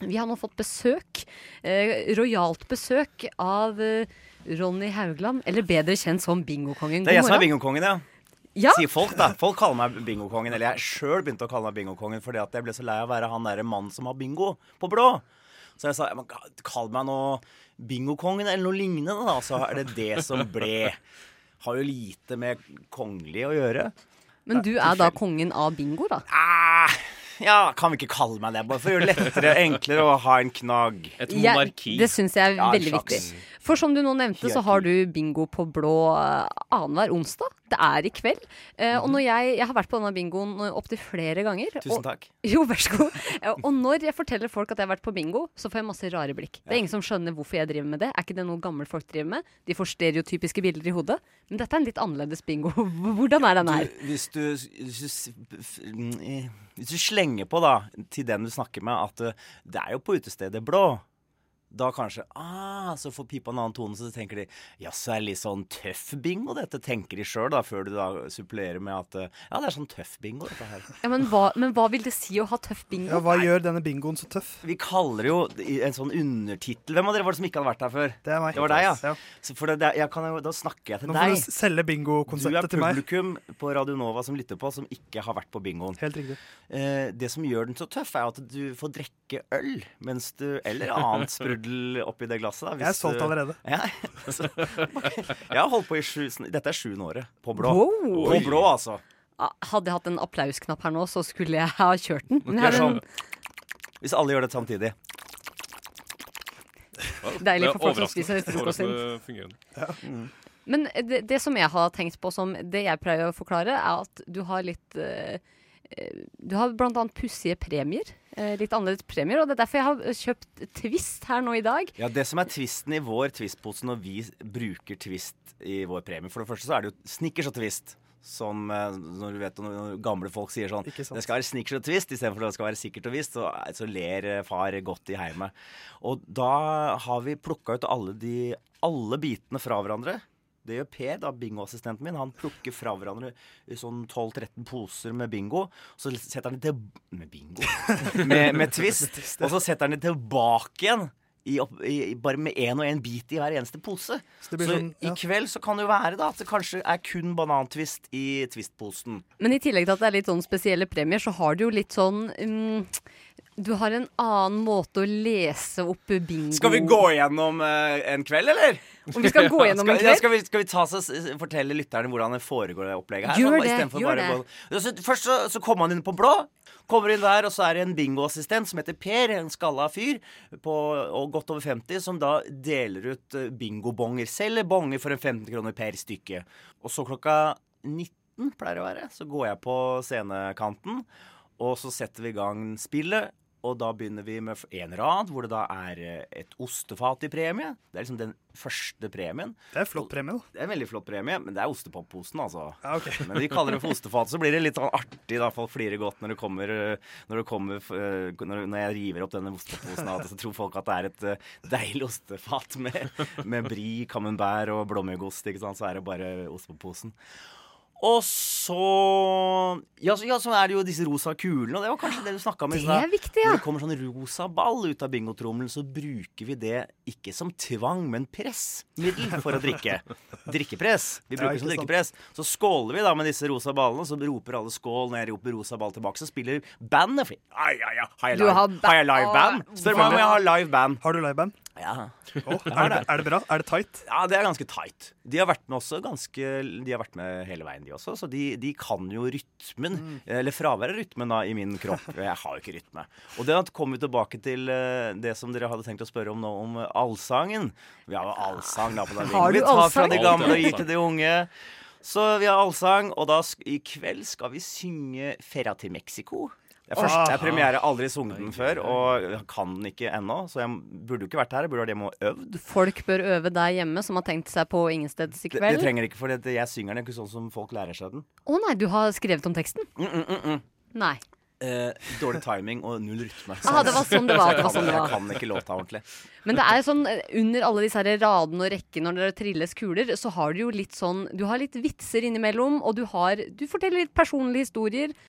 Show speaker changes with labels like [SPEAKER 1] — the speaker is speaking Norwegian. [SPEAKER 1] Vi har nå fått besøk, eh, rojalt besøk av eh, Ronny Haugland, eller bedre kjent som bingokongen.
[SPEAKER 2] Det er jeg
[SPEAKER 1] God
[SPEAKER 2] som er
[SPEAKER 1] morgen.
[SPEAKER 2] bingokongen, ja.
[SPEAKER 1] Ja,
[SPEAKER 2] Sier folk, da. Folk kaller meg bingokongen. Eller jeg sjøl begynte å kalle meg bingokongen fordi at jeg ble så lei av å være han derre mannen som har bingo på blå. Så jeg sa "Men kall meg nå bingokongen eller noe lignende, da. Så er det det som ble. Har jo lite med kongelig å gjøre.
[SPEAKER 1] Men du er da kongen av bingo, da?
[SPEAKER 2] Ah, ja, kan vi ikke kalle meg det, bare for å gjøre det lettere enklere å ha en knagg.
[SPEAKER 3] Et
[SPEAKER 1] Jeg-
[SPEAKER 3] monarki.
[SPEAKER 1] det syns jeg er
[SPEAKER 2] Ja, en
[SPEAKER 1] veldig
[SPEAKER 2] slags
[SPEAKER 1] viktig. For som du nå nevnte, så har du bingo på blå eh, annenhver onsdag. Det er i kveld. Eh, og når jeg, jeg har vært på denne bingoen opptil flere ganger.
[SPEAKER 2] Tusen
[SPEAKER 1] og,
[SPEAKER 2] takk.
[SPEAKER 1] Jo, vær så god. Eh, Og når jeg forteller folk at jeg har vært på bingo, så får jeg masse rare blikk. Det er ingen som skjønner hvorfor jeg driver med det. Er ikke det noe gamle folk driver med? De får stereotypiske bilder i hodet. Men dette er en litt annerledes bingo. Hvordan er den her?
[SPEAKER 2] Du, hvis, du, hvis, du, s- f- mm, eh, hvis du slenger på da til den du snakker med, at eh, det er jo på utestedet blå da kanskje ah, Så får pipa en annen tone, så tenker de Jaså, er det litt sånn tøff bingo dette? Tenker de sjøl, da, før du da supplerer med at eh, Ja, det er sånn tøff bingo, dette her.
[SPEAKER 1] Ja, men, hva, men hva vil det si å ha tøff bingo?
[SPEAKER 4] Ja, hva gjør denne bingoen så tøff?
[SPEAKER 2] Vi kaller jo i en sånn undertittel Hvem av dere var det som ikke hadde vært her før?
[SPEAKER 4] Det er meg.
[SPEAKER 2] Det var deg, ja. Så for det, det, jeg kan jo, da snakker jeg til
[SPEAKER 4] Nå får du
[SPEAKER 2] deg.
[SPEAKER 4] s- selge
[SPEAKER 2] Du er
[SPEAKER 4] bingokonseptet til meg.
[SPEAKER 2] publikum på Radio Nova som lytter på, som ikke har vært på bingoen.
[SPEAKER 4] Helt riktig.
[SPEAKER 2] Eh, det som gjør den så tøff, er at du får drikke øl mens du Eller annet sprudel oppi det glasset. Da,
[SPEAKER 4] Jeg er solgt
[SPEAKER 2] du-
[SPEAKER 4] allerede.
[SPEAKER 2] Ja, så, jeg har holdt på i sju Dette er sjuende året på blå.
[SPEAKER 1] Wow.
[SPEAKER 2] På blå, altså.
[SPEAKER 1] Ah, Hadde jeg hatt en applausknapp her nå, så skulle jeg ha kjørt den. Men
[SPEAKER 2] Gjør
[SPEAKER 1] jeg har en
[SPEAKER 2] sånn. Hvis alle gjør det samtidig.
[SPEAKER 1] deilig for folk som
[SPEAKER 3] overraskende.
[SPEAKER 1] spiser frokosten.
[SPEAKER 3] Overraskende fungerende.
[SPEAKER 1] Men det, det som jeg har tenkt på som det jeg pleier å forklare, er at du har litt eh, eh, Du har blant annet pussige premier. eh, litt annerledes premier. Og det er derfor jeg har kjøpt Twist her nå i dag.
[SPEAKER 2] Ja, Det som er tvisten i vår twistpose når vi bruker twist i vår premie For det første så er det jo snickers og twist. Som eh, når du vet når, når gamle folk sier sånn
[SPEAKER 4] Ikke sant.
[SPEAKER 2] Det skal være snickers og twist istedenfor det skal være sikkert og visst. Så, så ler eh, far godt i heimet. Og da har vi plukka ut alle, de, alle bitene fra hverandre. Det gjør Per, da, bingoassistenten min. Han plukker fra hverandre eh, sånn 12-13 poser med bingo. Så setter han det til Med bingo? med, med twist. Og så setter han det tilbake igjen. I opp, i, bare med én og én bit i hver eneste pose.
[SPEAKER 4] Så det
[SPEAKER 2] Så,
[SPEAKER 4] blir sånn, ja.
[SPEAKER 2] i kveld så kan det jo være da at det kanskje er kun banantvist i Twist-posen.
[SPEAKER 1] Men i tillegg til at det er litt sånn spesielle premier, så har du jo litt sånn mm, Du har en annen måte å lese opp bingo
[SPEAKER 2] Skal vi gå gjennom eh, en kveld, eller?
[SPEAKER 1] Om vi skal gå gjennom en
[SPEAKER 2] Skal, ja,
[SPEAKER 1] kveld?
[SPEAKER 2] skal, vi, skal vi ta oss, fortelle lytterne hvordan det foregår, det opplegget her?
[SPEAKER 1] Gjør
[SPEAKER 2] da,
[SPEAKER 1] det,
[SPEAKER 2] istedenfor
[SPEAKER 1] gjør det.
[SPEAKER 2] bare å gå- Ja, så, først så, så kommer han inn på blå. Kommer inn der, og så er det en bingoassistent som heter Per, en skalla fyr på og godt over 50, som da deler ut eh, bingobonger. Selger bonger for en 15 kroner per stykke. Og så klokka 19 pleier det å være, så går jeg på scenekanten, og så setter vi i gang spillet. Og da begynner vi med en rad, hvor det da er eh, et ostefat i premie. Det er liksom den første premien.
[SPEAKER 4] Det er flott premie, da.
[SPEAKER 2] Det er en veldig flott premie, men det er ostepopposen, altså.
[SPEAKER 4] Ja, ok.
[SPEAKER 2] Men de kaller det for ostefat, så blir det litt sånn artig. Da. Folk flirer godt når det kommer, øh, når, det kommer f- øh, når, når jeg river opp denne ostepopposen. da, Så tror folk at det er et øh, deilig ostefat med, med brie, camembert og blåmuggost. Ikke sant? Så er det bare ostepopposen. Og så ja, så ja, så er det jo disse rosa kulene, og det var kanskje det du snakka om. i
[SPEAKER 1] Det
[SPEAKER 2] stad.
[SPEAKER 1] er viktig, ja.
[SPEAKER 2] Når det kommer sånn rosa ball ut av bingotrommelen, så bruker vi det ikke som tvang, men pressmiddel for å drikke. Drikkepress. Vi
[SPEAKER 4] Ja,
[SPEAKER 2] bruker
[SPEAKER 4] ikke
[SPEAKER 2] det som
[SPEAKER 4] sant.
[SPEAKER 2] drikkepress. Så skåler vi da med disse rosa ballene, så roper alle skål. Når jeg roper rosa ball tilbake, så spiller bandet fordi Ai, ai, ai, har jeg
[SPEAKER 1] Du
[SPEAKER 2] live,
[SPEAKER 1] har
[SPEAKER 2] har
[SPEAKER 1] ba-
[SPEAKER 2] jeg live band? Spør meg om jeg har live band.
[SPEAKER 4] Har du liveband?
[SPEAKER 2] Ja.
[SPEAKER 4] Å, er, det- er det bra? Er det tight?
[SPEAKER 2] Ja, det er ganske tight. De har vært med også ganske De har vært med hele veien, de også. Så de, de kan jo rytmen.
[SPEAKER 1] Mm.
[SPEAKER 2] Eller fraværet av rytmen, da, i min kropp. Jeg har jo ikke rytme. Og det kommer vi tilbake til eh, det som dere hadde tenkt å spørre om nå, om eh, allsangen. Vi har jo allsang, da. på den
[SPEAKER 1] Har
[SPEAKER 2] Vi
[SPEAKER 1] du
[SPEAKER 2] tar fra
[SPEAKER 1] allsang?
[SPEAKER 2] de gamle og
[SPEAKER 3] Alt er
[SPEAKER 2] gir til de unge. Så vi har allsang, og da sk i kveld skal vi synge 'Ferra til Mexico'. Det er, først, det er premiere, aldri sunget den før, og jeg kan den ikke ennå. Så jeg burde jo ikke vært her, jeg burde vært hjemme og øvd.
[SPEAKER 1] Folk bør øve der hjemme, som har tenkt seg på ingensteds i
[SPEAKER 2] Det, det
[SPEAKER 1] kveld. Å
[SPEAKER 2] trenger ikke, for det, jeg synger den ikke sånn som folk lærer seg den.
[SPEAKER 1] nei, du har skrevet om teksten? Nei.
[SPEAKER 2] Eh, dårlig timing og null rytme.
[SPEAKER 1] Ah, det var sånn det var, det var sånn det var.
[SPEAKER 2] Jeg kan ikke låta ordentlig.
[SPEAKER 1] Men det er jo sånn, eh, under alle disse her radene og rekkene når det trilles kuler, så har du jo litt sånn Du har litt vitser innimellom, og du har Du forteller litt personlige historier.